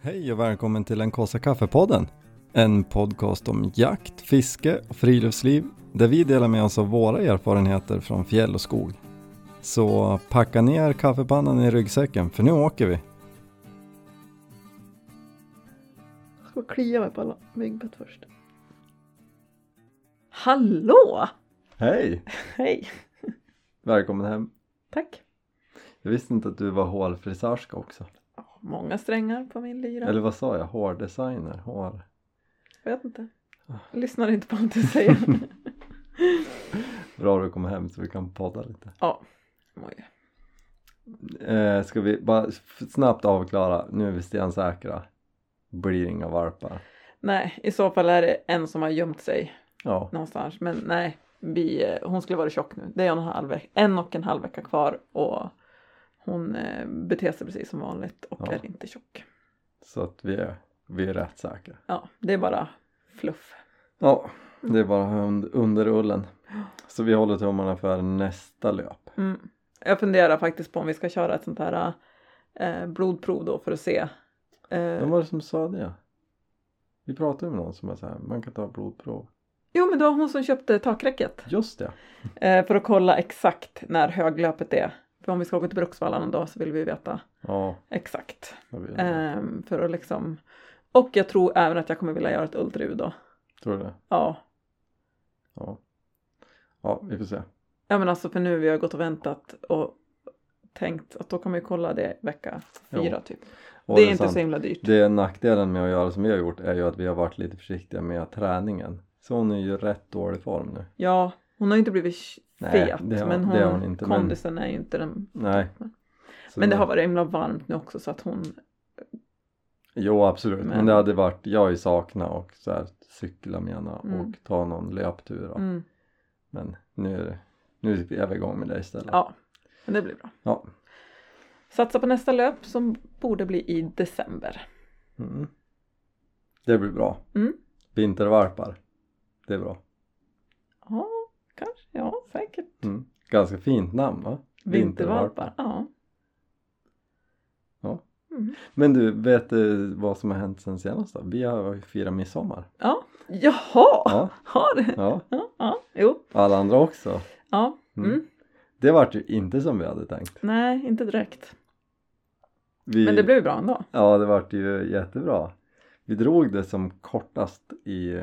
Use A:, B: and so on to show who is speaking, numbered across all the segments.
A: Hej och välkommen till den kaffe kaffepodden. En podcast om jakt, fiske och friluftsliv där vi delar med oss av våra erfarenheter från fjäll och skog. Så packa ner kaffepannan i ryggsäcken för nu åker vi.
B: Jag ska klia mig på alla myggbett först. Hallå!
A: Hej!
B: Hej!
A: Välkommen hem.
B: Tack!
A: Jag visste inte att du var hårfrisörska också.
B: Ja, Många strängar på min lyra.
A: Eller vad sa jag? Hårdesigner? Hår...
B: Jag vet inte.
A: Ah.
B: Jag lyssnar inte på vad du säger.
A: Bra du kom hem så vi kan podda lite.
B: ja. Oj.
A: Eh, ska vi bara f- snabbt avklara. Nu är vi stensäkra. Blir inga varpar.
B: Nej, i så fall är det en som har gömt sig
A: Ja,
B: någonstans. Men nej, vi, eh, hon skulle vara tjock nu. Det är en och en halv, veck- en och en halv vecka kvar och hon eh, beter sig precis som vanligt och
A: Ja.
B: är inte tjock.
A: så att vi är, vi är rätt säkra.
B: Ja, det är bara fluff.
A: Ja, det är bara und- under ullen. Så vi håller tummarna för nästa löp.
B: Mm. Jag funderar faktiskt på om vi ska köra ett sånt här eh, blodprov då för att se.
A: Vem
B: Eh,
A: var det som sa det? Vi pratade ju med någon som är så här, man kan ta blodprov.
B: jo men det var hon som köpte takräcket
A: Just det!
B: eh, för att kolla exakt när höglöpet är. För om vi ska åka till Bruksvallarna då så vill vi veta
A: Ja,
B: exakt.
A: jag vet.
B: Ehm, för att liksom... Och jag tror även att jag kommer vilja göra ett ultraljud då.
A: Tror du det?
B: Ja.
A: Ja. Ja, vi får se.
B: ja men alltså för nu vi har gått och väntat och tänkt att då kan man ju kolla det vecka
A: Jo,
B: fyra typ.
A: Och
B: det är inte
A: sant.
B: så himla dyrt.
A: Det är nackdelen med att göra som vi har gjort är ju att vi har varit lite försiktiga med träningen. Så hon är ju i rätt dålig form nu.
B: Ja, hon har ju inte blivit sh-
A: Nej,
B: fet
A: det har-
B: men hon,
A: det har hon inte, men-
B: kondisen är ju inte den.
A: Nej. Så
B: Men det har varit himla varmt nu också så att hon,
A: Jo absolut, men,
B: Men-
A: det hade varit, jag har ju saknat och så här cykla menar
B: Mm.
A: och ta någon löptur. då.
B: mm,
A: Men nu är, det, nu är vi igång med det istället.
B: ja, men det blir bra.
A: Ja.
B: Satsa på nästa löp som borde bli i december.
A: Mm. Det blir bra.
B: Mm.
A: Vintervarpar. Det är bra.
B: Ja, kanske, ja säkert.
A: Mm. Ganska fint namn va?
B: Vintervalpar, ja.
A: Ja.
B: Mm.
A: Men du, vet du vad som har hänt sen senast då? Vi har ju firat midsommar.
B: Ja, jaha,
A: Ja,
B: har det?
A: ja.
B: Ja, ja, jo,
A: Alla andra också.
B: ja,
A: Mm.
B: mm.
A: Det vart ju inte som vi hade tänkt.
B: nej, inte direkt.
A: Vi,
B: Men det blev ju bra ändå.
A: Ja, det vart ju jättebra. Vi drog det som kortast i,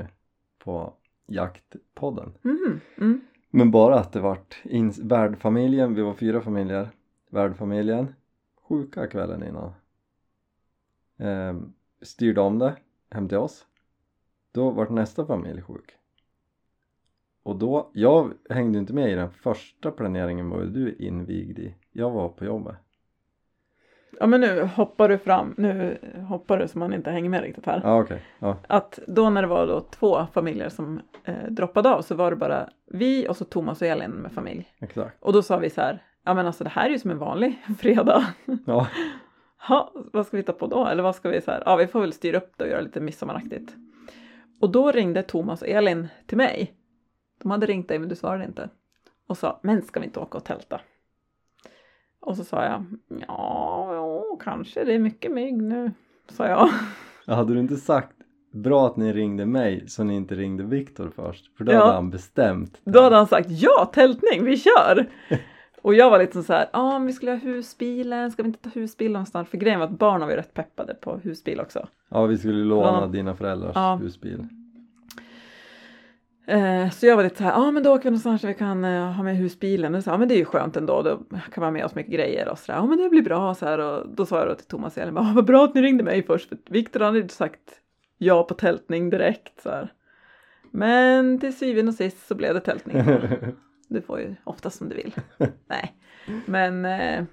A: på jaktpodden.
B: Mhm, mm.
A: Men bara att det vart in, värdfamiljen, vi var fyra familjer, värdfamiljen, sjuka kvällen innan. Ehm, styrde om det hem till oss. Då vart nästa familj sjuk. Och då, jag hängde inte med i den första planeringen var ju du invigd i. Jag var på jobbet.
B: Ja men nu hoppar du fram, nu hoppar du så man inte hänger med riktigt här.
A: Ja ah, okej. Ja.
B: att då när det var då två familjer som eh, droppade av så var det bara vi och så Thomas och Elin med familj.
A: Exakt.
B: Och då sa vi så här, ja men alltså det här är ju som en vanlig fredag.
A: Ja,
B: Ha, vad ska vi ta på då? Eller vad ska vi så här, ja vi får väl styra upp det och göra lite midsommaraktigt. Och då ringde Thomas och Elin till mig. De hade ringt dig men du svarade inte. Och sa, men ska vi inte åka och tälta? Och så sa jag, ja, jo, kanske det är mycket mygg nu, sa jag.
A: hade du inte sagt bra att ni ringde mig så ni inte ringde Viktor först för då
B: Ja.
A: hade han bestämt.
B: Då hade han sagt ja, tältning, vi kör! Och jag var lite så här, ja men vi skulle ha husbilen, ska vi inte ta husbil någonstans? För grejen var att barnen var ju rätt peppade på husbil också.
A: Ja, vi skulle låna
B: Ja.
A: dina föräldrars
B: Ja.
A: husbil.
B: Eh, så jag var lite så här, ja men då åker vi någonstans där vi kan eh, ha med husbilen. Och så, ja men det är ju skönt ändå, då kan man ha med oss mycket grejer och så där. Ja men det blir bra och så här. Och då sa jag då till Thomas och Elin, ja vad bra att ni ringde mig först. För Viktor hade ju sagt ja på tältning direkt så här. Men till syvende och sist så blev det tältning. Du får ju oftast som du vill. Nej, men eh,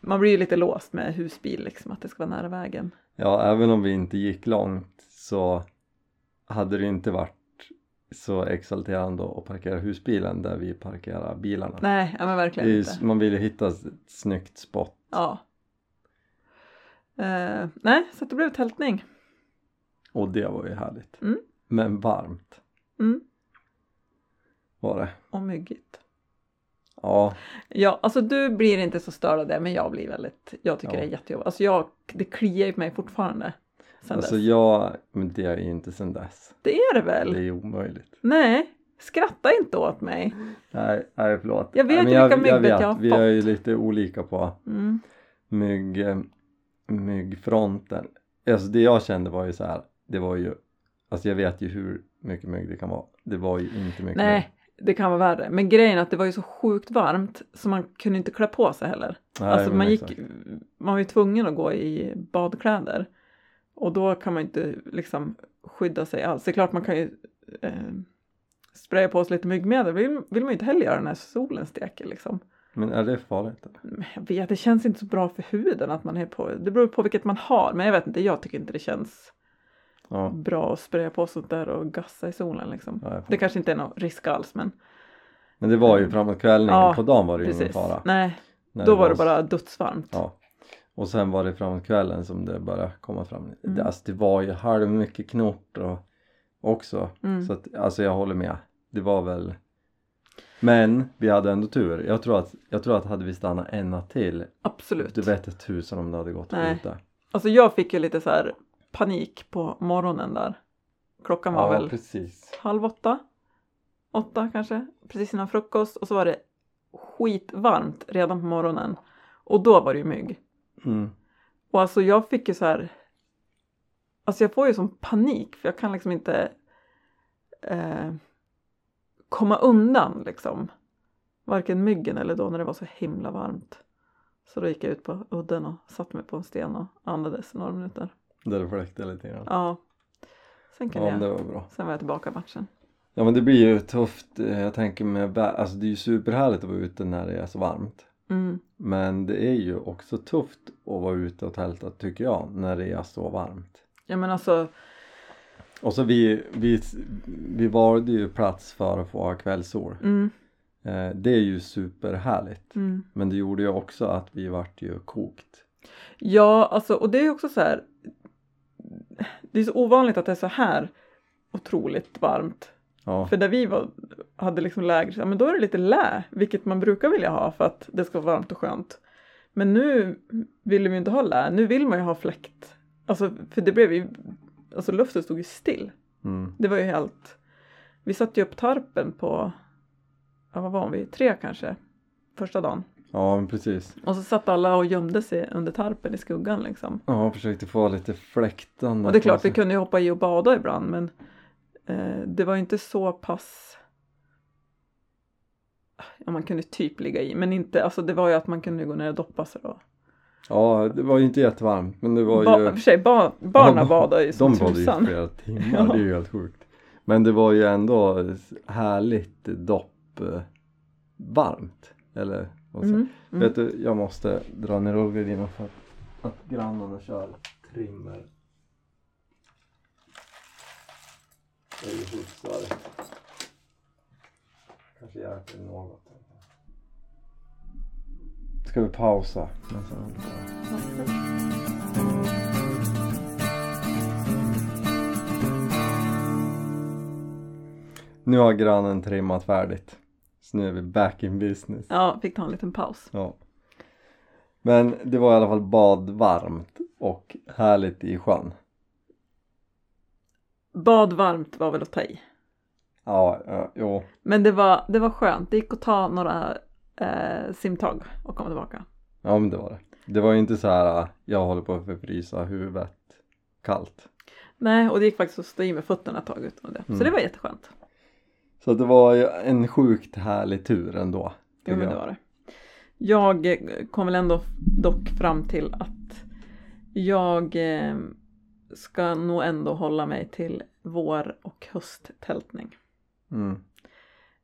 B: man blir ju lite låst med husbil liksom, att det ska vara nära vägen.
A: Ja, även om vi inte gick långt så hade det inte varit så exalterande att parkera husbilen där vi parkerar bilarna.
B: Nej, ja, men
A: Det är
B: verkligen
A: ju,
B: inte.
A: man vill ju hitta ett snyggt spot.
B: Ja. Eh, nej, så att det blev tältning.
A: Och det var ju härligt.
B: Mm.
A: Men varmt
B: Mm.
A: var det.
B: Och myggigt.
A: Ja,
B: Ja, alltså du blir inte så störd av det, men jag blir väldigt, jag tycker
A: Ja.
B: det är jättejobbigt. Alltså jag, det kliar ju på mig fortfarande. sen
A: alltså
B: dess?
A: jag, men det är ju inte sen dess.
B: Det är det väl?
A: Det är ju omöjligt.
B: Nej, skratta inte åt mig.
A: Nej, nej förlåt.
B: Jag vet
A: nej, men
B: vilka myggbett jag har
A: Vi är
B: fått.
A: ju lite olika på
B: Mm.
A: mygg, eh, myggfronten. Alltså det jag kände var ju så här, det var ju, alltså jag vet ju hur mycket mygg det kan vara. Det var ju inte mycket mygg.
B: Nej, det kan vara värre. Men grejen är att det var ju så sjukt varmt så man kunde inte klä på sig heller.
A: Nej,
B: alltså
A: men
B: man, gick,
A: exakt.
B: man var ju tvungen att gå i badkläder och då kan man ju inte liksom skydda sig alls. Det är klart man kan ju eh, spraya på sig lite myggmedel, vill, vill man ju inte heller göra när solen steker liksom.
A: Men är det farligt?
B: Men jag vet, det känns inte så bra för huden att man är på, det beror på vilket man har, men jag vet inte, jag tycker inte det känns
A: Ja.
B: bra att spraya på sånt där och gassa i solen liksom.
A: ja jag
B: Det
A: fattar.
B: kanske inte är någon risk alls, men
A: men det var ju framåt kvällningen,
B: Ja,
A: på dagen var det ju ingen
B: precis.
A: fara.
B: Nej,
A: När
B: då var det bara dödsvarmt.
A: Ja. Och sen var det framåt kvällen som det började komma fram. Det-
B: Mm.
A: Alltså det var ju halvmycket knort och också.
B: Mm.
A: Så att, alltså jag håller med. Det var väl men vi hade ändå tur. Jag tror att, jag tror att hade vi stannat en natt till,
B: Absolut.
A: det vete tusan om det hade gått
B: Nej.
A: att flyta.
B: Alltså jag fick ju lite så här panik på morgonen där. Klockan var väl
A: precis.
B: halv åtta, åtta kanske, precis innan frukost och så var det skitvarmt redan på morgonen och då var det ju mygg.
A: Mm.
B: Och alltså jag fick ju så här, alltså jag får ju som panik för jag kan liksom inte eh, komma undan liksom. Varken myggen eller då när det var så himla varmt. Så då gick jag ut på udden och satte mig på en sten och andades några minuter.
A: Där det fläkte lite grann.
B: Ja. Sen kan
A: Ja, men
B: jag.
A: det var bra.
B: Sen var jag tillbaka i matchen.
A: Ja men det blir ju tufft, eh, jag tänker med bä- alltså det är ju superhärligt att vara ute när det är så varmt.
B: Mm.
A: Men det är ju också tufft att vara ute och tälta tycker jag när det är så varmt.
B: Ja men alltså,
A: Och så vi, vi, vi valde ju plats för att få ha kvällssol.
B: mm,
A: Eh, det är ju superhärligt.
B: mm.
A: Men det gjorde ju också att vi vart ju kokt.
B: Ja alltså, och det är ju också så här. Det är så ovanligt att det är så här otroligt varmt.
A: Ja,
B: För där vi var, hade liksom läger, så, ja, men då är det lite lä, vilket man brukar vilja ha för att det ska vara varmt och skönt. Men nu ville vi ju inte ha lä, nu vill man ju ha fläkt. Alltså, för det blev ju, alltså luften stod ju still.
A: mm,
B: Det var ju helt... Vi satte ju upp tarpen på, ja, vad var vi, tre kanske, första dagen.
A: ja men precis.
B: Och så satt alla och gömde sig under tarpen i skuggan liksom.
A: Ja, jag försökte få lite fläktande.
B: Och det är klart,
A: på
B: vi
A: sig.
B: kunde ju hoppa i och bada ibland men eh, det var ju inte så pass... Ja, man kunde typ ligga i, men inte, alltså det var ju att man kunde gå ner och doppa sig då.
A: Ja, det var ju inte jättevarmt men det var
B: Ba-
A: ju...
B: för sig, ba- barnen
A: Ja,
B: badade ju som
A: De var ju i
B: tusan.
A: flera timmar,
B: Ja.
A: det är ju helt sjukt. Men det var ju ändå härligt dopp eh, varmt. Eller vad ska-
B: Mm, mm.
A: Vet du, jag måste dra ner rullgardinen för att, att grannarna kör trimmer. Det är ju hyfsar. Kanske hjälper något. Ska vi pausa? Men sen håller vi på. Nu har grannen trimmat färdigt. Så nu är vi back in business.
B: Ja, fick ta en liten paus.
A: Ja. Men det var i alla fall badvarmt och härligt i sjön.
B: Bad varmt var väl att ta i.
A: Ja, ja, jo.
B: Men det var, det var skönt, det gick att ta några eh, simtag och komma tillbaka.
A: Ja men det var det. Det var ju inte så här äh, jag håller på att förfrysa huvudet kallt.
B: Nej, och det gick faktiskt att stå i med fötterna ett tag utan det.
A: Mm.
B: Så det var jätteskönt.
A: Så det var ju en sjukt härlig tur ändå.
B: Jo,
A: tycker
B: men
A: jag.
B: det var det. Jag eh, kom väl ändå dock fram till att jag eh, ska nog ändå hålla mig till vår och hösttältning.
A: Mm.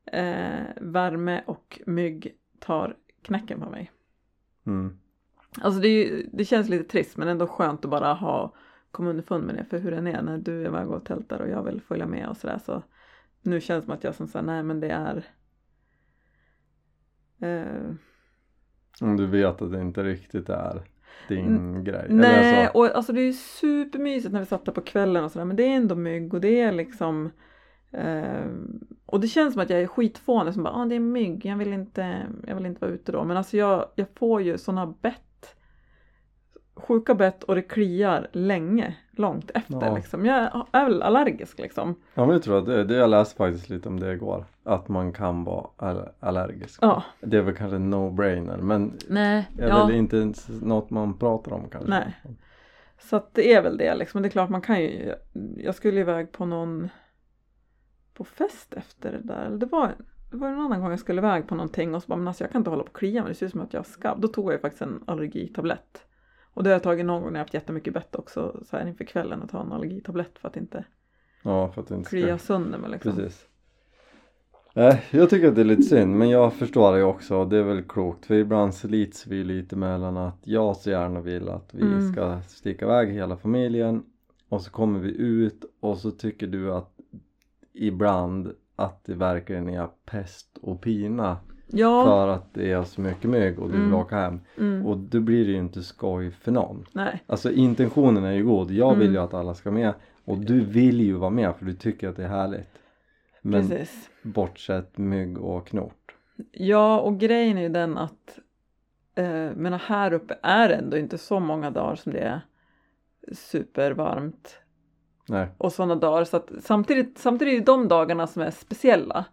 B: Eh, värme och mygg tar knäcken på mig.
A: Mm.
B: Alltså det, är ju, det känns lite trist men ändå skönt att bara ha kommit underfund med det för hur den är när du är iväg och tältar och jag vill följa med och sådär så nu känns det som att jag som säger nej men det är eh,
A: Om du vet att det inte riktigt är din grej. Eller
B: Mm, Nej
A: alltså,
B: och alltså det är ju supermysigt när vi satt där på kvällen och sådär men det är ändå mygg och det är liksom eh, och det känns som att jag är skitfånig som bara ah, det är mygg, jag vill inte, jag vill inte vara ute då men alltså jag, jag får ju sådana bett sjuka bett och det kliar länge, långt efter
A: Ja.
B: liksom. Jag är väl allergisk liksom.
A: Ja men jag tror att det, det jag läste faktiskt lite om det igår. Att man kan vara all- allergisk.
B: Ja,
A: Det är väl kanske en no-brainer men
B: nej.
A: är
B: Ja.
A: väl inte ens något man pratar om kanske.
B: Nej. Så att det är väl det liksom. Men det är klart man kan ju. Jag skulle iväg på någon på fest efter det där. Eller Det var, det var en annan gång jag skulle iväg på någonting och så bara men alltså jag kan inte hålla på och klia mig. Det ser ut som att jag har skabb. Då tog jag ju faktiskt en allergitablett. Och det har jag tagit någon gång när jag haft jättemycket bett också så här inför kvällen att ta en allergitablett för att inte
A: Ja för att det inte ska...
B: klia sönder mig liksom.
A: Precis. Nej, jag tycker att det är lite synd men jag förstår det ju också och det är väl klokt för ibland slits vi lite mellan att jag så gärna vill att vi
B: Mm.
A: ska sticka iväg hela familjen och så kommer vi ut och så tycker du att ibland att det verkligen är pest och pina
B: Ja,
A: för att det är så mycket mygg och du vill
B: Mm.
A: åka hem
B: mm,
A: och då blir det ju inte skoj för någon.
B: nej.
A: Alltså intentionen är ju god. Jag vill ju
B: Mm.
A: att alla ska med och du vill ju vara med för du tycker att det är härligt. Men
B: Precis.
A: bortsett mygg och knort.
B: Ja, och grejen är ju den att eh, men här uppe är det ändå inte så många dagar som det är supervarmt
A: Nej,
B: och sådana dagar. Så att samtidigt, samtidigt är det de dagarna som är speciella.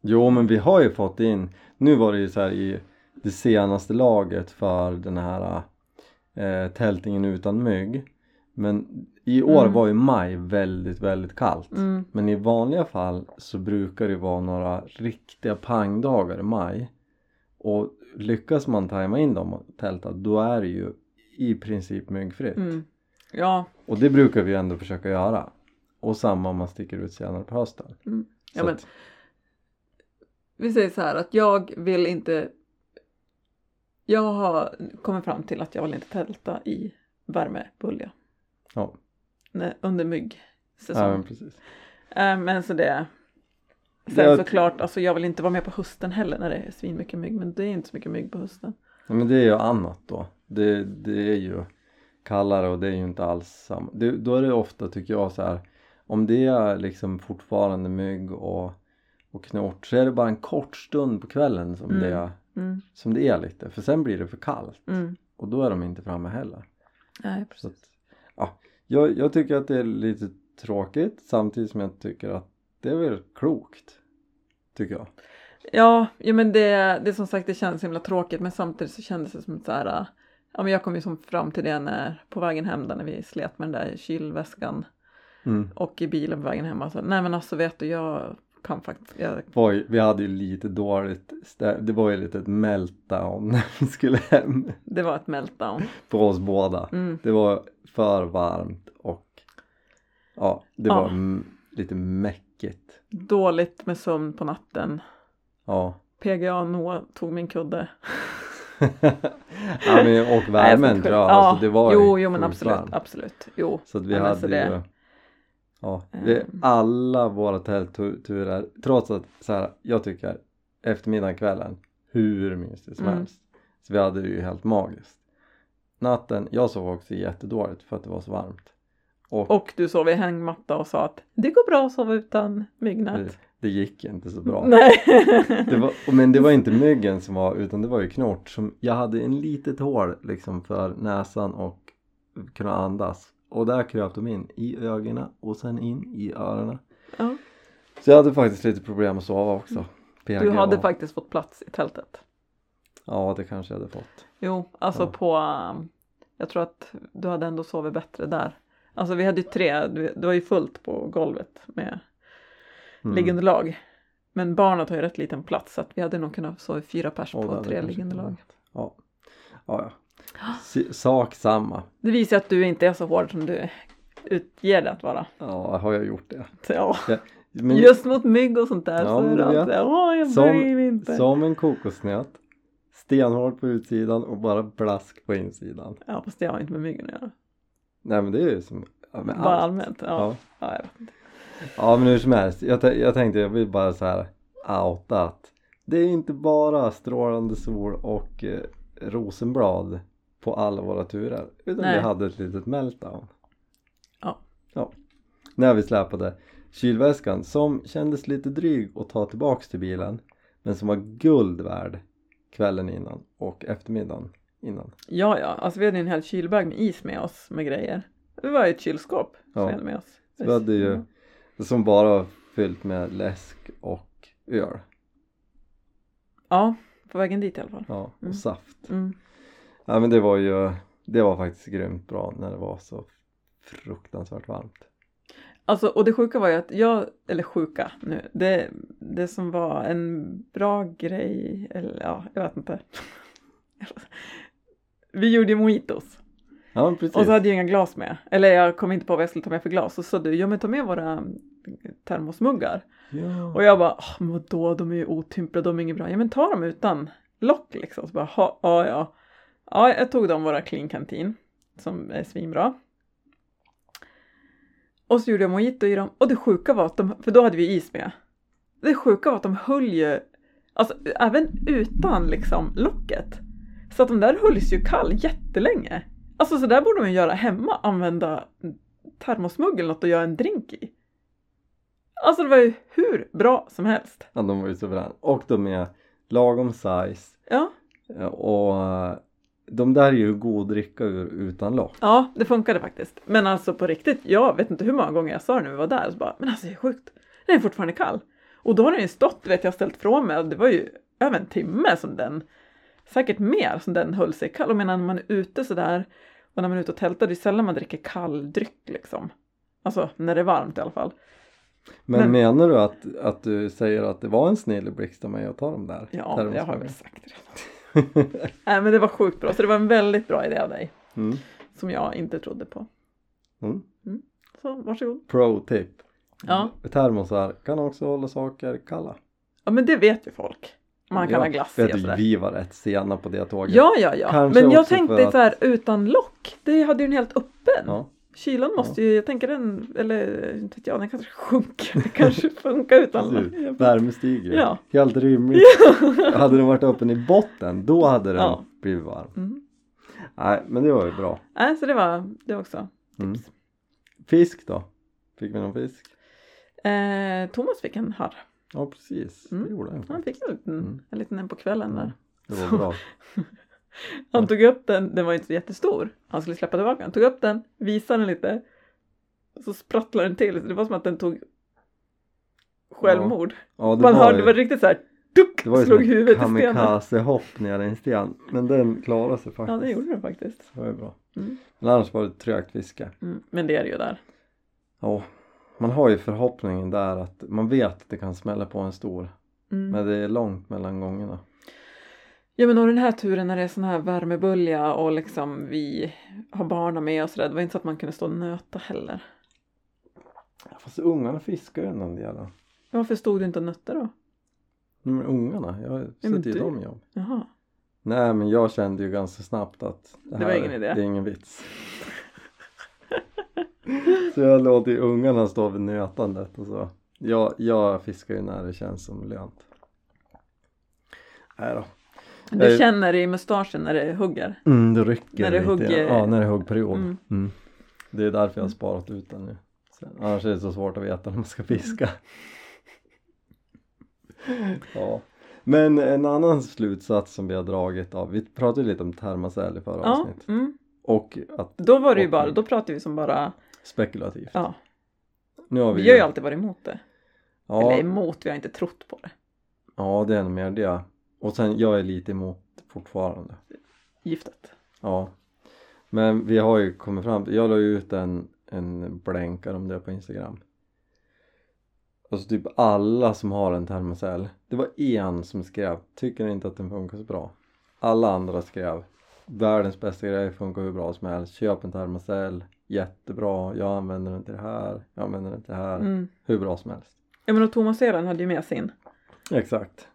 A: jo men vi har ju fått in. Nu var det ju så här i det senaste laget för den här eh, tältningen utan mygg. Men i år
B: Mm.
A: var ju maj väldigt, väldigt kallt.
B: Mm,
A: Men i vanliga fall så brukar det vara några riktiga pangdagar i maj. Och lyckas man tajma in dem och tälta då är det ju i princip myggfritt.
B: mm. Ja,
A: Och det brukar vi ändå försöka göra. Och samma om man sticker ut senare på hösten.
B: Mm. Ja,
A: Så
B: men-
A: att,
B: vi säger så här att jag vill inte... Jag har kommit fram till att jag vill inte tälta i värmebölja
A: ja,
B: Nej, under myggsäsong.
A: ja men precis.
B: Eh, Men så det... Sen
A: Jag-
B: såklart, alltså jag vill inte vara med på hösten heller när det är svinmycket mygg, men det är inte så mycket mygg på hösten.
A: Ja, men det är ju annat då. Det, det är ju kallare och det är ju inte alls samma. Det, då är det ofta tycker jag så här. Om det är liksom fortfarande mygg och, och knort så är det bara en kort stund på kvällen som,
B: Mm.
A: det,
B: Mm,
A: som det är lite. För sen blir det för kallt
B: mm.
A: och då är de inte framme heller.
B: Nej,
A: Så
B: precis.
A: att, ja, jag, jag tycker att det är lite tråkigt samtidigt som jag tycker att det är väl klokt. Tycker jag.
B: Ja, ja men det, det är som sagt det känns himla tråkigt men samtidigt så kändes det som så här, äh, ja men jag kom ju som fram till det när, på vägen hem där när vi slet med den där kylväskan
A: Mm.
B: och i bilen på vägen hem alltså, nej men alltså vet du jag kan faktiskt, jag,
A: var ju, vi hade ju lite dåligt stä- det var ju lite ett meltdown när vi skulle hem
B: det var ett meltdown.
A: för oss båda.
B: Mm.
A: Det var för varmt och ja, det var
B: Ja.
A: m- lite mäckigt.
B: Dåligt med sömn på natten,
A: Ja.
B: PGA Noah tog min kudde.
A: ja men, och
B: Nej,
A: värmen
B: ska
A: tror
B: inte-
A: jag, alltså det var
B: jo,
A: ju
B: jo men
A: sjukt
B: absolut,
A: varmt.
B: absolut. Jo.
A: Så att vi
B: Ja, men
A: hade
B: så
A: ju
B: det-
A: ja, det,
B: Ehm.
A: alla våra tältturer, trots att så här, jag tycker eftermiddagen, kvällen, hur mysigt som
B: Mm.
A: helst. Så vi hade det ju helt magiskt. Natten, jag sov också jättedåligt för att det var så varmt. Och,
B: Och du sov i hängmatta och sa att det går bra att sova utan myggnät.
A: det, det gick inte så bra.
B: Nej.
A: Det var, och men det var inte myggen som var utan det var ju knort som jag hade en litet hål liksom för näsan och kunna andas och där kröp de in i ögonen och sen in i öronen.
B: ja. Mm.
A: Så jag hade faktiskt lite problem att sova också.
B: Du
A: PGA.
B: hade faktiskt fått plats i tältet.
A: Ja, det kanske jag hade fått.
B: Jo, alltså
A: Ja.
B: på... um, Jag tror att du hade ändå sovit bättre där. Alltså vi hade ju tre, du- det var ju fullt på golvet med
A: Mm.
B: liggunderlag. Men barnet har ju rätt liten plats så att vi hade nog kunnat sova fyra pers
A: Och det
B: på
A: hade
B: tre
A: kanske
B: liggunderlag.
A: kunnat. Ja. ja, ja. S- sak samma.
B: Det visar att du inte är så hård som du utger dig att vara.
A: Ja, har jag gjort det?
B: Så, ja.
A: Men
B: Just mot mygg och sånt där
A: Ja,
B: så
A: men du
B: är det alltid
A: vet.
B: såhär, åh jag
A: Som-
B: bryr mig inte.
A: som en kokosnöt. Stenhård på utsidan och bara blask på insidan.
B: Ja fast det har inte med myggen att göra.
A: Nej men det är ju som ja, med
B: Bara
A: allt.
B: allmänt. Ja.
A: Ja.
B: Ja. jag vet.
A: ja men hur som helst. Jag, tä- jag tänkte jag vill bara så här outa att det är inte bara strålande sol och eh, rosenblad på alla våra turer. Utan
B: Nej.
A: vi hade ett litet meltdown.
B: Ja.
A: Ja. När vi släpade kylväskan som kändes lite dryg att ta tillbaks till bilen. Men som var guld värd kvällen innan och eftermiddagen. innan?
B: Ja, ja, alltså vi hade ju en hel kylbag med is med oss med grejer. Det var ju ett kylskåp som
A: Ja.
B: vi hade med oss.
A: Så vi hade ju som bara var fyllt med läsk och öl.
B: Ja, på vägen dit i alla fall.
A: Ja, och
B: Mm.
A: saft.
B: Mm.
A: Ja men det var ju, det var faktiskt grymt bra när det var så fruktansvärt varmt.
B: Alltså, och det sjuka var ju att jag, eller sjuka nu, det, det som var en bra grej, eller ja, jag vet inte. vi gjorde ju mojitos.
A: Ja men precis.
B: Och så hade jag inga glas med. Eller jag kom inte på vad jag skulle ta med för glas. Och så sa du, ja men ta med våra termosmuggar.
A: ja.
B: Och jag bara, "Ah, men då de är ju otymplade, de är inget bra. Ja men ta dem utan lock liksom. Så bara, "Ha, ja ja. Ja, jag tog dem våra clean kantin som är svinbra. Och så gjorde jag mojito i dem. Och det sjuka var att de, för då hade vi is med. Det sjuka var att de höll ju, alltså även utan liksom locket. Så att de där hölls ju kall jättelänge. Alltså så där borde man ju göra hemma, använda termosmugg eller något och göra en drink i. Alltså det var ju hur bra som helst.
A: ja, de var ju suveräna. Och de är lagom size.
B: Ja,
A: eh, Och eh, de där är ju god dricka ur utan lock.
B: ja det funkade faktiskt. Men alltså på riktigt, jag vet inte hur många gånger jag sa det när vi var där. Så bara, men alltså det är sjukt, den är fortfarande kall. Och då har den ju stått, vet jag, ställt från mig. Det var ju över en timme som den, säkert mer, som den höll sig kall. Och medan man är ute sådär och när man är ute och tältar, det är sällan man dricker kall dryck liksom. Alltså när det är varmt i alla fall.
A: Men,
B: Men-
A: menar du att, att du säger att det var en snilleblixt av mig att ta de där?
B: Ja, jag har
A: termosmuggarna?
B: väl sagt det redan. Nej, men det var sjukt bra. Så det var en väldigt bra idé av dig.
A: mm.
B: Som jag inte trodde på.
A: Mm.
B: Så varsågod.
A: Pro tip.
B: Ja.
A: Termosar kan också hålla saker kalla.
B: Ja, men det vet ju folk. Man kan
A: Ja,
B: ha glass i
A: vet
B: och
A: du,
B: sådär.
A: Vi var rätt sena på det tåget.
B: Ja, ja, ja.
A: Kanske
B: men jag
A: också
B: tänkte
A: för att-
B: så här utan lock. Det hade ju den helt öppen.
A: Ja.
B: Kylan måste ju, jag tänker den, eller inte vet jag, den kanske sjunker. Det kanske funkar utan lock.
A: Precis. Värme stiger.
B: Ja.
A: Helt rimligt. Hade den varit öppen i botten då hade den
B: Ja.
A: blivit varm.
B: Mm.
A: Nej men det var ju bra.
B: Nej, så det var det också.
A: Mm.
B: Tips.
A: Fisk då? Fick vi någon fisk?
B: Eh, Thomas fick en harr.
A: Ja precis, det
B: Mm.
A: gjorde den.
B: Han fick en liten,
A: Mm.
B: en liten en på kvällen där.
A: Det var bra.
B: Han tog upp den, den var inte så jättestor. Han skulle släppa tillbaka den. Tog upp den, visade den lite. Så sprattlade den till. Så det var som att den tog självmord.
A: Ja, det var
B: Man hörde,
A: ju-
B: det var riktigt så här. Duck,
A: Det var ju
B: slog
A: som
B: huvudet
A: ett
B: i stenen.
A: kamikazehopp ner i en sten. Men den klarade sig faktiskt.
B: Ja, det gjorde den faktiskt.
A: Det var ju bra.
B: Mm.
A: Men annars var det trögt fiske.
B: Mm. Men det är det ju där.
A: Ja, man har ju förhoppningen där att man vet att det kan smälla på en stor.
B: Mm.
A: Men det är långt mellan gångerna.
B: Ja men och den här turen när det är sån här värmebölja och liksom vi har barnen med och sådär. Det var inte så att man kunde stå och nöta heller.
A: Fast ungarna fiskar ju ändå en del. då.
B: Varför stod du inte och nötte då?
A: Men ungarna, jag
B: men
A: sätter ju
B: du-
A: dem i jobb.
B: Jaha.
A: Nej men jag kände ju ganska snabbt att
B: Det var ingen idé.
A: det är ingen vits. så jag låter ju ungarna stå vid nötandet och så. Jag, jag fiskar ju när det känns som lönt. Nej då.
B: Du
A: Eh,
B: känner i mustaschen när det hugger.
A: Mm, det rycker
B: När det
A: lite.
B: hugger-
A: Ja, när det är huggperiod.
B: Mm.
A: Mm. Det är därför jag har
B: Mm.
A: sparat ut den nu. Sen, annars är det så svårt att veta när man ska fiska. ja. Men en annan slutsats som vi har dragit av, vi pratade lite om termasäl i förra
B: Ja.
A: avsnittet.
B: Mm.
A: Och att
B: Då var det ju
A: Och-
B: bara, då pratade vi som bara,
A: spekulativt.
B: ja.
A: Nu har vi,
B: Vi har ju alltid varit emot det. Eller
A: ja,
B: emot, vi har inte trott på det.
A: ja, det är nog mer det. Och sen, jag är lite emot fortfarande.
B: Giftet.
A: Ja. Men vi har ju kommit fram till, jag la ju ut en, en blänkare om det på Instagram. Alltså typ alla som har en termosell. Det var en som skrev, tycker inte att den funkar så bra. Alla andra skrev, världens bästa grej, funkar hur bra som helst. Köp en termosell, jättebra. Jag använder den till det här, jag använder den till det här.
B: Mm.
A: Hur bra som helst.
B: Ja men och Thomas Elan hade ju med sin.
A: Exakt.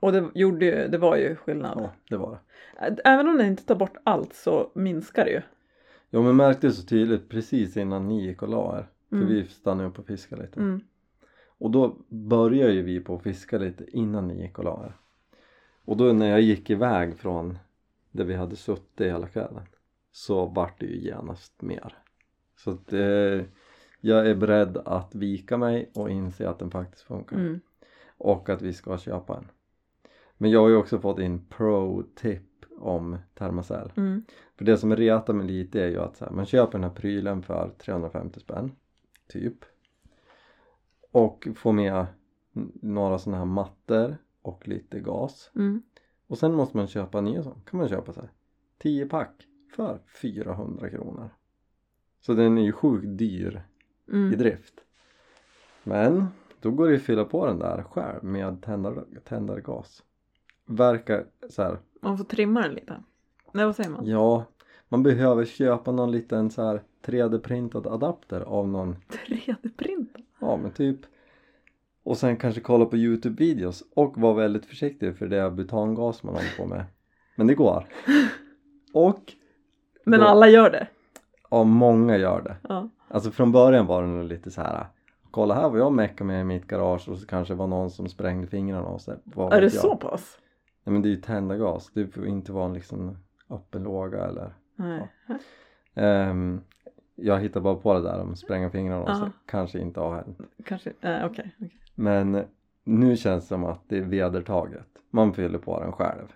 B: Och det, gjorde ju, det var ju skillnad.
A: Ja, det var det.
B: Ä- Även om den inte tar bort allt så minskar det ju.
A: Ja men märkte så tydligt precis innan ni gick och la er. För
B: Mm.
A: vi stannade upp och fiskade lite.
B: Mm.
A: Och då började ju vi på att fiska lite innan ni gick och la er. Och då när jag gick iväg från där vi hade suttit hela kvällen så vart det ju genast mer. Så att eh, jag är beredd att vika mig och inse att den faktiskt funkar.
B: Mm.
A: Och att vi ska köpa en. Men jag har ju också fått in pro-tip om Thermacell.
B: Mm.
A: För det som retar mig lite är ju att så här, man köper den här prylen för 350 spänn typ och får med n- några sådana här mattor och lite gas
B: Mm.
A: och sen måste man köpa nya sådana. kan man köpa så här 10 pack för 400 kronor så den är ju sjukt dyr i
B: Mm.
A: drift men då går det ju att fylla på den där själv med tändar- tändargas verkar så här
B: Man får trimma den lite. Nej, vad säger man?
A: Ja, man behöver köpa någon liten så här 3D-printad adapter av någon,
B: 3D-print?
A: ja men typ och sen kanske kolla på Youtube-videos och vara väldigt försiktig för det är butangas man håller på med men det går och
B: Men
A: Då-
B: alla gör det.
A: ja, många gör det
B: Ja.
A: alltså från början var det nog lite så här kolla här vad jag meckar med i mitt garage och så kanske det var någon som sprängde fingrarna och så här, vad
B: Är det
A: vet jag?
B: så pass?
A: Nej men det är ju tändargas, det får inte vara en liksom öppen låga eller
B: Nej.
A: Ehm, jag hittar bara på det där om spränga fingrarna och så
B: Ja.
A: kanske inte har hänt.
B: Kanske, nej okej. okej.
A: Men nu känns det som att det är vedertaget. Man fyller på den själv.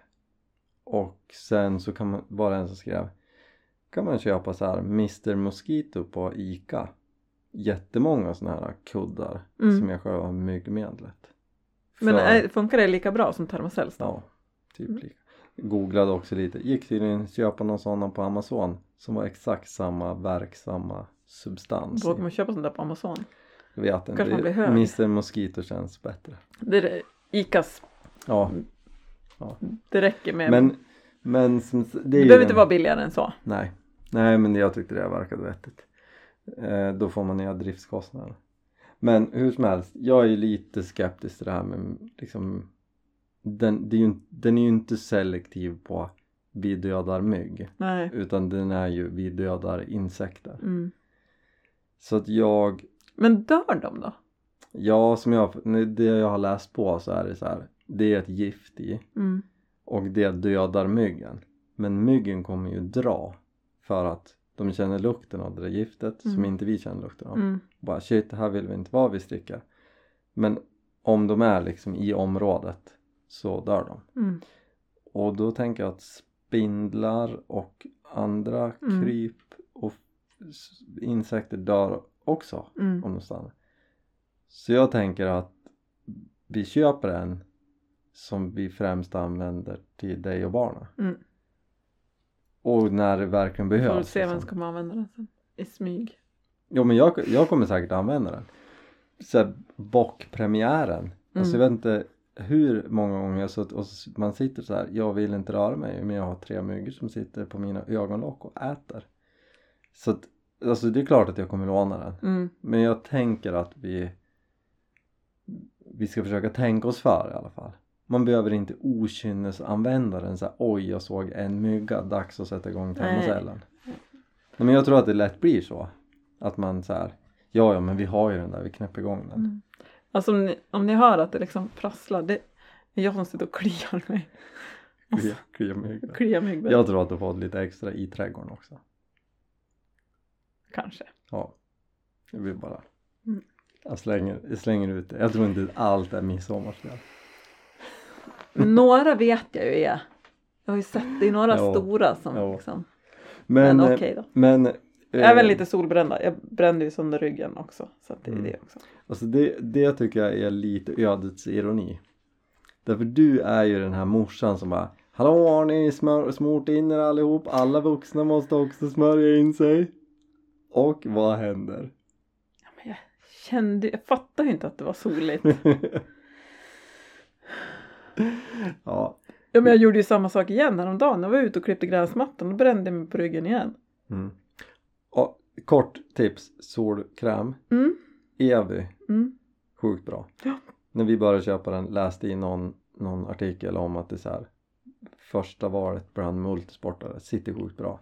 A: Och sen så kan man, var det en som skrev kan man köpa så här Mr Mosquito på ICA. Jättemånga sådana här kuddar
B: Mm.
A: som jag själv har myggmedlet.
B: Men
A: För-
B: är, funkar det lika bra som Thermocells då?
A: Ja, typ
B: Mm.
A: lika. Googlade också lite. Gick tydligen att köpa någon sån på Amazon som var exakt samma verksamma substans.
B: Vågar man köpa sånt där på Amazon?
A: Jag vet inte.
B: Kanske man blir
A: Det-
B: hög.
A: Mr Mosquito känns bättre.
B: Det, är- Icas,
A: Ja,
B: Mm. det räcker med.
A: men, men som, s- det
B: det
A: är ju
B: behöver
A: den-
B: inte vara billigare än så.
A: Nej, nej men jag tyckte det verkade vettigt. Eh, då får man nya driftskostnader. Men hur som helst, jag är ju lite skeptisk till det här med liksom den, det är ju, in- den är ju inte selektiv på vi dödar mygg.
B: Nej.
A: utan den är ju vi dödar insekter
B: Mm.
A: så att jag,
B: Men dör de då?
A: ja som jag, nej, det jag har läst på så är det så här det är ett gift i
B: Mm.
A: och det dödar myggen men myggen kommer ju dra för att de känner lukten av det där giftet som
B: Mm.
A: inte vi känner lukten av
B: Mm.
A: bara shit det här vill vi inte vara, vi sticker men om de är liksom i området så dör de
B: Mm.
A: och då tänker jag att spindlar och andra
B: Mm.
A: kryp och s- insekter dör också
B: Mm.
A: om de stannar så jag tänker att vi köper en som vi främst använder till dig och barnen
B: Mm.
A: och när det verkligen
B: Får vi
A: behövs
B: se vem
A: liksom.
B: som kommer använda den sen. I smyg.
A: jo men jag, jag kommer säkert använda den så här, bockpremiären alltså jag vet inte hur många gånger jag har suttit och s- man sitter så här. jag vill inte röra mig men jag har tre myggor som sitter på mina ögonlock och äter så att, alltså det är klart att jag kommer låna den
B: Mm.
A: men jag tänker att vi vi ska försöka tänka oss för i alla fall man behöver inte okynnesanvända den så här, oj jag såg en mygga, dags att sätta igång
B: Nej.
A: termocellen nej men jag tror att det lätt blir så att man så här, ja ja men vi har ju den där, vi knäpper igång den
B: Mm. Alltså om ni, om ni hör att det liksom prasslar, det är jag som sitter och kliar mig.
A: Klia- klia mygga.
B: Kliar myggbett,
A: Jag tror att du fått lite extra i trädgården också.
B: kanske.
A: Ja. Det blir bara...
B: Mm.
A: Jag slänger, jag slänger ut det. Jag tror inte att allt är midsommarspel.
B: Men några vet jag ju är. Jag har ju sett, det är några
A: Ja.
B: stora som
A: Ja.
B: liksom.
A: Men,
B: Men,
A: eh,
B: okej då.
A: men eh,
B: Även lite solbrända. Jag brände ju sönder ryggen också. Så att det är
A: Mm.
B: det också.
A: Alltså det, det tycker jag är lite ödets ironi. Därför du är ju den här morsan som bara Hallå har ni smör, smort in er allihop? Alla vuxna måste också smörja in sig. Och vad händer?
B: Men jag kände, jag fattade ju inte att det var soligt.
A: ja.
B: ja, men jag gjorde ju samma sak igen häromdagen. Jag var ute och klippte gräsmattan och brände jag mig på ryggen igen.
A: Mm. Och, kort tips, solkräm.
B: Mm,
A: Evy,
B: mm,
A: sjukt bra.
B: Ja.
A: När vi började köpa den läste i någon, någon artikel om att det är så här första valet bland multisportare, sitter sjukt bra.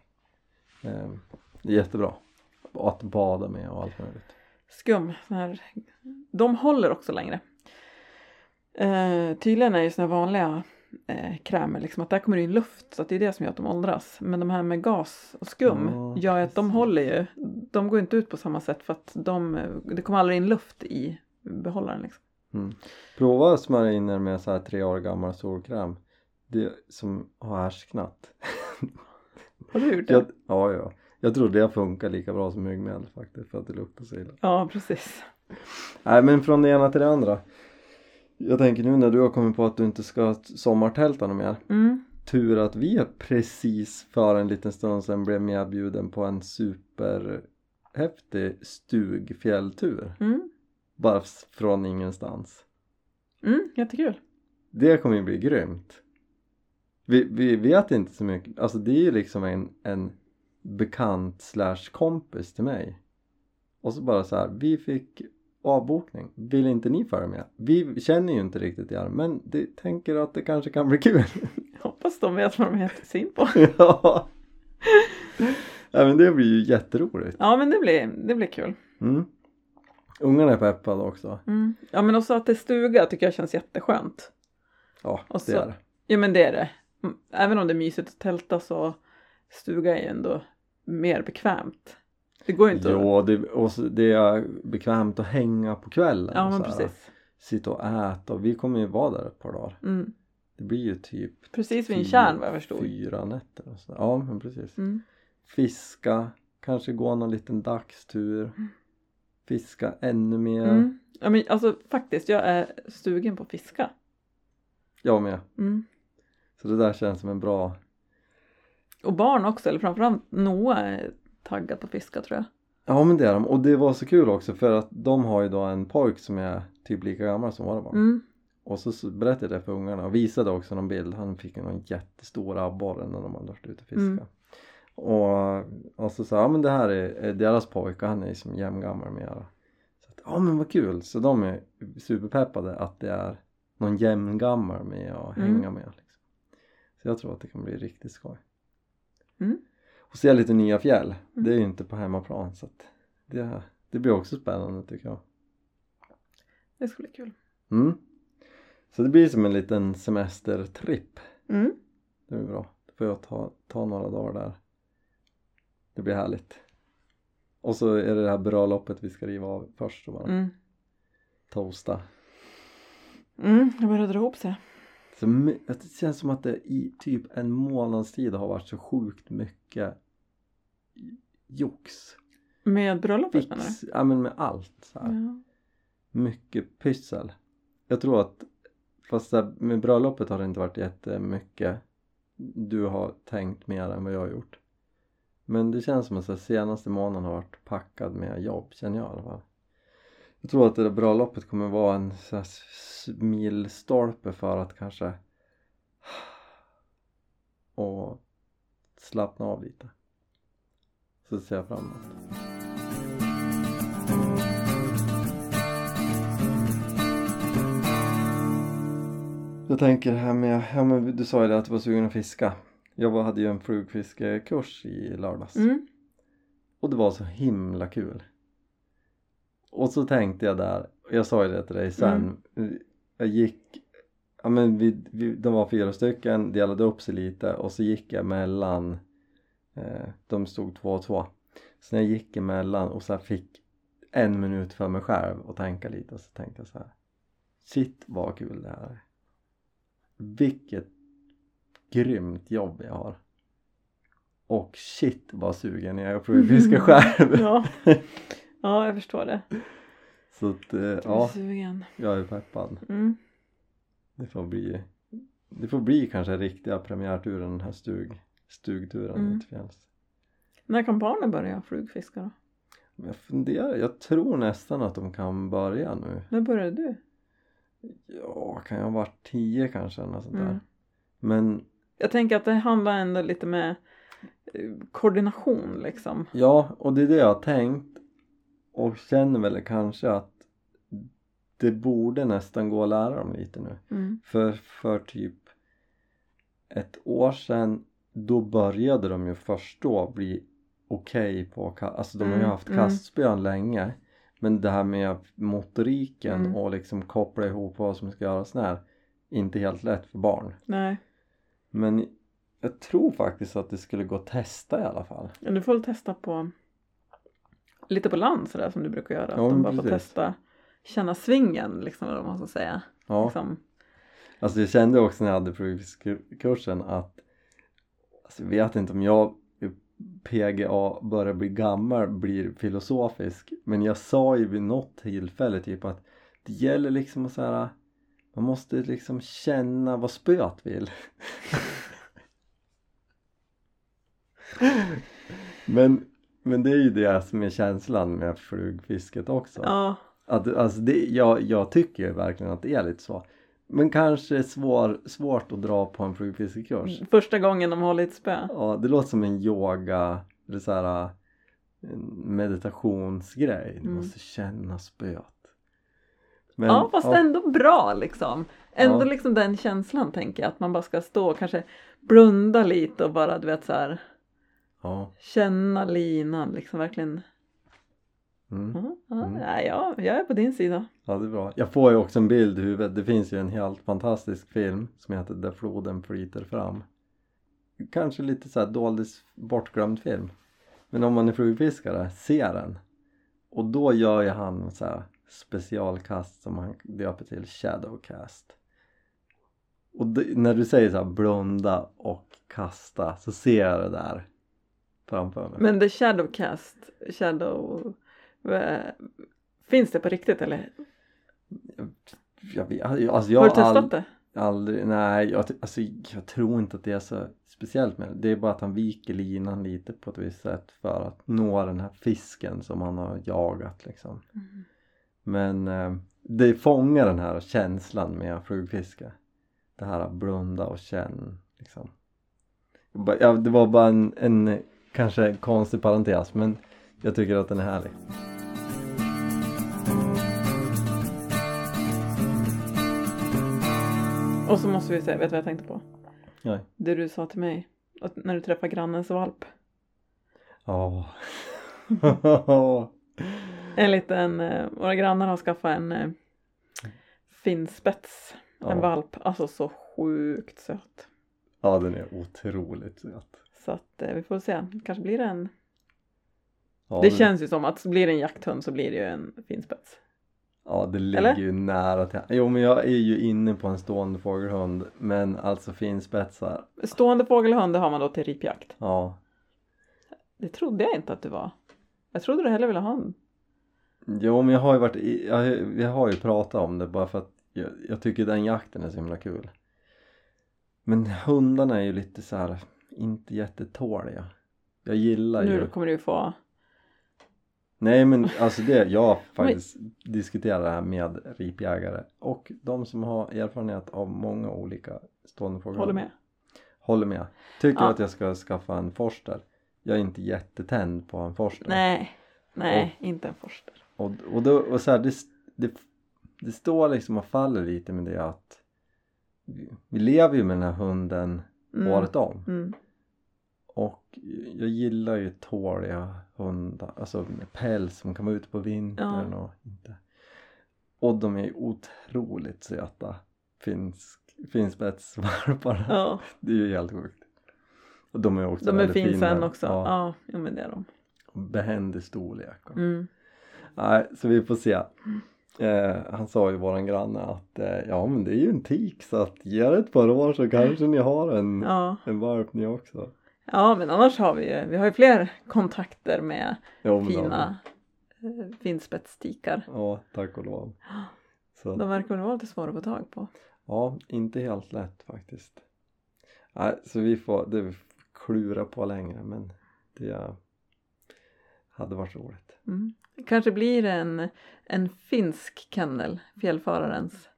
A: Ehm, det är jättebra. Och att bada med och allt möjligt.
B: skum. Sån här. De håller också längre. Eh, tydligen är ju såna här vanliga eh, krämer liksom att där kommer det in luft så att det är det som gör att de åldras. Men de här med gas och skum
A: Ja,
B: gör ju att de
A: precis.
B: håller ju. De går inte ut på samma sätt för att de, eh, det kommer aldrig in luft i behållaren liksom.
A: Prova att smörja in er med så här tre år gammal solkräm. det som har härsknat.
B: Har du gjort det?
A: Jag, ja, ja. Jag trodde jag funkar lika bra som myggmjöl faktiskt för att det luktar så illa.
B: Ja, precis.
A: Nej men från det ena till det andra. Jag tänker nu när du har kommit på att du inte ska sommartälta något mer.
B: Mm.
A: Tur att vi precis för en liten stund sedan blev medbjuden på en superhäftig stugfjälltur.
B: Mm.
A: Bara s- från ingenstans.
B: Mm, jättekul.
A: Det kommer ju bli grymt. Vi, vi vet inte så mycket. Alltså det är ju liksom en, en bekant slash kompis till mig. Och så bara så här, vi fick avbokning. Vill inte ni följa med? Vi känner ju inte riktigt er men det, tänker att det kanske kan bli kul.
B: Hoppas de vet vad de heter sin på.
A: ja. Nej men det blir ju jätteroligt.
B: Ja, men det blir, det blir kul.
A: Mm. Ungarna är peppade också.
B: Mm. Ja, men också att det är stuga tycker jag känns jätteskönt.
A: Ja,
B: Och så-
A: det är det.
B: Ja, men det är det. Mm, Även om det är mysigt att tälta så stuga är ju ändå mer bekvämt. Det går ju inte att...
A: Jo, det, och så, det är bekvämt att hänga på kvällen.
B: Ja, men
A: så här.
B: precis.
A: sitta och äta och vi kommer ju vara där ett par dagar.
B: Mm.
A: Det blir ju typ
B: Precis vid en
A: fy-
B: kärn vad jag förstod.
A: fyra nätter. Och så. Ja men precis.
B: Mm.
A: Fiska, kanske gå någon liten dagstur.
B: Mm.
A: Fiska ännu mer.
B: Mm. Ja, men alltså faktiskt, jag är stugen på att fiska.
A: Jag med.
B: Mm.
A: Så det där känns som en bra...
B: Och barn också, eller framförallt Noah är taggad på att fiska tror jag.
A: Ja men det är de. Och det var så kul också för att de har ju då en pojk som är typ lika gammal som våra barn.
B: Mm.
A: Och så- så berättade jag det för ungarna och visade också någon bild. Han fick ju någon jättestor abborre när de hade varit ute och fiska.
B: Mm.
A: Och, och så sa jag, ja men det här är, är deras pojke, han är som jämngammal med era. Så att, ja men vad kul! Så de är superpeppade att det är någon jämngammal med att
B: Mm.
A: hänga med. Liksom. Så jag tror att det kan bli riktigt skoj.
B: Mm.
A: Och se lite nya fjäll. Det är ju inte på hemmaplan så att det, det blir också spännande tycker jag.
B: Det skulle bli kul.
A: Mm. Så det blir som en liten semestertripp.
B: Mm.
A: Det blir bra. Då får jag ta, ta några dagar där. Det blir härligt. Och så är det det här bröllopet vi ska riva av först och bara
B: Mm.
A: toasta.
B: Mm. Jag börjar dra ihop sig.
A: Så my- att det känns som att det i typ en månads tid har varit så sjukt mycket jox,
B: Med bröllopet
A: fix,
B: menar du? Mm.
A: ja men med allt så här.
B: Ja.
A: mycket pyssel. Jag tror att fast där, med bröllopet har det inte varit jättemycket du har tänkt mer än vad jag har gjort. Men det känns som att så här, senaste månaden har varit packad med jobb känner jag i alla fall. Jag tror att det där bröllopet kommer vara en så här, s- milstolpe för att kanske och slappna av lite. Så ser jag fram emot. Jag tänker det här med, ja men du sa ju det att du var sugen att fiska. Jag var- hade ju en flugfiskekurs i lördags
B: Mm.
A: och det var så himla kul. Och så tänkte jag där, och jag sa ju det till dig sen, jag gick, ja men vi, vi, de var fyra stycken, delade upp sig lite och så gick jag mellan, eh, de stod två och två. Så när jag gick emellan och så här fick en minut för mig själv och tänka lite och så tänkte jag så här. Shit vad kul det här är. Vilket grymt jobb jag har. Och shit vad sugen jag är på att fiska själv.
B: Ja. ja, jag förstår det.
A: Så att, eh,
B: Jag är
A: ja,
B: sugen.
A: jag är peppad.
B: Mm.
A: Det får bli, det får bli kanske riktiga premiärturen den här stug, stugturen
B: Mm.
A: ut till fjälls.
B: När kan barnen börja flugfiska då?
A: Men Jag funderar, jag tror nästan att de kan börja nu.
B: När började du?
A: Ja, kan jag ha varit tio kanske eller något sånt där.
B: Mm.
A: Men
B: Jag tänker att det handlar ändå lite med eh, koordination liksom.
A: ja, och det är det jag har tänkt och känner väl kanske att det borde nästan gå att lära dem lite nu.
B: Mm.
A: För, för typ ett år sedan då började de ju först då bli okej på ka- alltså de har
B: Mm,
A: ju haft
B: mm.
A: kastspön länge men det här med motoriken
B: Mm.
A: och liksom koppla ihop vad som ska göras när inte helt lätt för barn
B: Nej,
A: men jag tror faktiskt att det skulle gå att testa i alla fall
B: men du får väl testa på lite på land sådär som du brukar göra.
A: Ja,
B: att de
A: men
B: bara får
A: precis.
B: testa känna svingen liksom eller vad man ska säga.
A: ja
B: Liksom.
A: Alltså jag kände också när jag hade provkursen att alltså jag vet inte om jag PGA börjar bli gammal blir filosofisk men jag sa ju vid något tillfälle typ att det gäller liksom att så här, man måste liksom känna vad spöet vill men, men det är ju det som är känslan med flugfisket också
B: Ja,
A: att, alltså det, jag, jag tycker ju verkligen att det är lite så men kanske svår, svårt att dra på en flugfiskekurs
B: första gången de håller i ett spö.
A: Ja, det låter som en yoga, eller så här, en meditationsgrej. Du
B: Mm.
A: måste känna spöet. Men,
B: ja, fast ändå bra liksom. Ändå
A: Ja.
B: liksom den känslan tänker jag, att man bara ska stå och kanske blunda lite och bara du vet så här
A: ja,
B: känna linan liksom verkligen.
A: mm.
B: Mm, ja,
A: Mm.
B: nej, ja, jag är på din sida.
A: ja, det är bra. Jag får ju också en bild i huvudet. Det finns ju en helt fantastisk film som heter Där floden flyter fram. Kanske lite så här dold, bortglömd film. Men om man är flugfiskare, ser den. Och då gör ju han så här specialkast som han döper till shadowcast. Och det, när du säger så här blunda och kasta så ser jag det där framför mig.
B: Men The Shadowcast, Shadow... eh, Finns det på riktigt eller?
A: jag, vet- alltså jag har
B: har du testat
A: ald-
B: det?
A: Aldrig, nej jag, t- alltså, jag tror inte att det är så speciellt med det. Det är bara att han viker linan lite på ett visst sätt för att nå den här fisken som han har jagat liksom.
B: Mm.
A: Men eh, det fångar den här känslan med flugfiske. Det här att blunda och känn liksom. Jag bara- Ja, det var bara en, en kanske en konstig parentes men jag tycker att den är härlig.
B: Och så måste vi säga, vet du vad jag tänkte på?
A: Nej.
B: Det du sa till mig, att när du träffar grannens valp.
A: Ja.
B: En liten, eh, våra grannar har skaffat en eh, finspets,
A: Ja.
B: en valp. Alltså så sjukt söt.
A: ja den är otroligt söt.
B: Så att eh, vi får se, kanske blir det en.
A: Ja,
B: det
A: den-
B: känns ju som att blir det en jakthund så blir det ju en finspets.
A: Ja det ligger
B: Eller?
A: ju nära till Jo men jag är ju inne på en stående fågelhund men alltså finspetsar.
B: Stående fågelhund det har man då till ripjakt.
A: Ja.
B: Det trodde jag inte att du var. Jag trodde du hellre ville ha en.
A: Jo men jag har ju varit i, jag, har ju- vi har ju pratat om det bara för att jag, jag tycker den jakten är så himla kul. Men hundarna är ju lite så här inte jättetåliga. Jag gillar ju.
B: Nu kommer du ju få.
A: Nej men alltså det, jag har faktiskt diskuterat det här med ripjägare och de som har erfarenhet av många olika stående fågelhundar.
B: Håller med.
A: Håller med. Tycker
B: Ja.
A: att jag ska skaffa en forster. Jag är inte jättetänd på en forster.
B: Nej, nej, inte en forster.
A: Och, och, då, och så här, det, det, det står liksom och faller lite med det att vi- vi lever ju med den här hunden
B: Mm.
A: året om.
B: Mm.
A: Och jag gillar ju tåliga hundar, alltså med päls som kan vara ute på vintern och inte. Och de är ju otroligt söta. Finsk, finspetsvalparna.
B: Ja,
A: Det är ju helt sjukt. Och de är också
B: de är
A: väldigt
B: finsen
A: fina.
B: också.
A: Ja.
B: Ja, ja men det är de.
A: behändig storlek. och-
B: Mm.
A: Nej, så vi får se. Eh, han sa ju våran granne att eh, ja men det är ju en tik så att ge det ett par år så kanske ni har en,
B: Ja.
A: en valp ni också.
B: ja, men annars har vi ju, vi har ju fler kontakter med
A: Jo, men då-
B: fina eh, finspetsstikar.
A: Ja, tack och lov. Så,
B: De verkar väl vara lite svåra att få tag på.
A: Ja, inte helt lätt faktiskt. Nej, så vi får, det vi får klura på längre men det hade varit roligt.
B: Mm. Kanske blir det en, en finsk kennel, fjällfararens.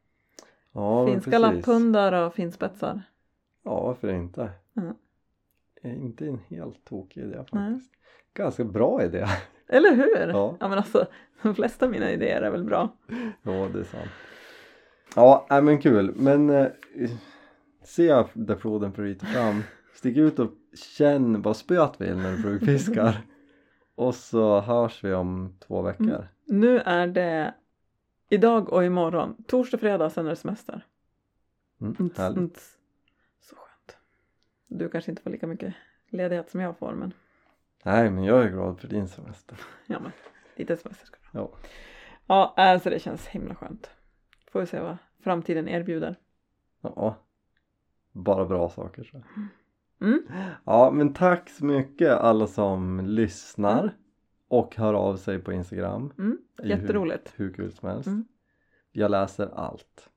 A: Ja, men
B: Finska
A: precis.
B: lapphundar och finspetsar.
A: Ja, varför inte?
B: Mm.
A: Eh, Inte en helt tokig idé faktiskt.
B: Nej.
A: Ganska bra idé.
B: Eller hur?
A: Ja.
B: men alltså, de flesta av mina idéer är väl bra.
A: ja, det är sant. Ja, nej, men kul. Men eh, se där floden flyter fram. Stick ut och känn vad spöet vill när du flugfiskar. och så hörs vi om två veckor.
B: Mm. Nu är det idag och imorgon. Torsdag, fredag, sen är det semester.
A: Mm,
B: Nts,
A: härligt.
B: nts. Så skönt. Du kanske inte får lika mycket ledighet som jag får, men
A: Nej, men jag är glad för din semester.
B: ja, men lite semester ska du
A: Ja.
B: ha. Ja, alltså det känns himla skönt. Får vi se vad framtiden erbjuder.
A: Ja. Bara bra saker. Så.
B: Mm.
A: Ja, men tack så mycket alla som lyssnar och hör av sig på Instagram.
B: Mm.
A: Det är ju
B: Jätteroligt.
A: Hur, hur kul som helst.
B: Mm.
A: Jag läser allt.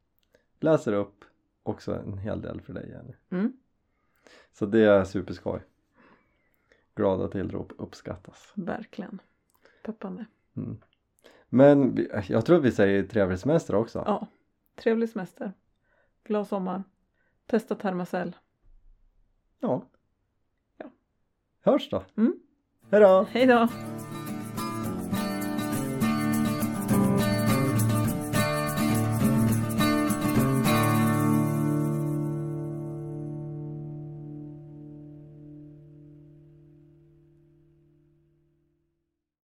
A: Läser upp också en hel del för dig Jenny.
B: Mm.
A: Så det är superskoj. Glada tillrop uppskattas.
B: Verkligen. Peppande.
A: Mm. Men vi- jag tror att vi säger trevlig semester också.
B: Ja. Trevlig semester. Glad sommar. Testa Termacell.
A: ja.
B: Ja.
A: Hörs då.
B: Mm.
A: Hejdå!
B: Hej då!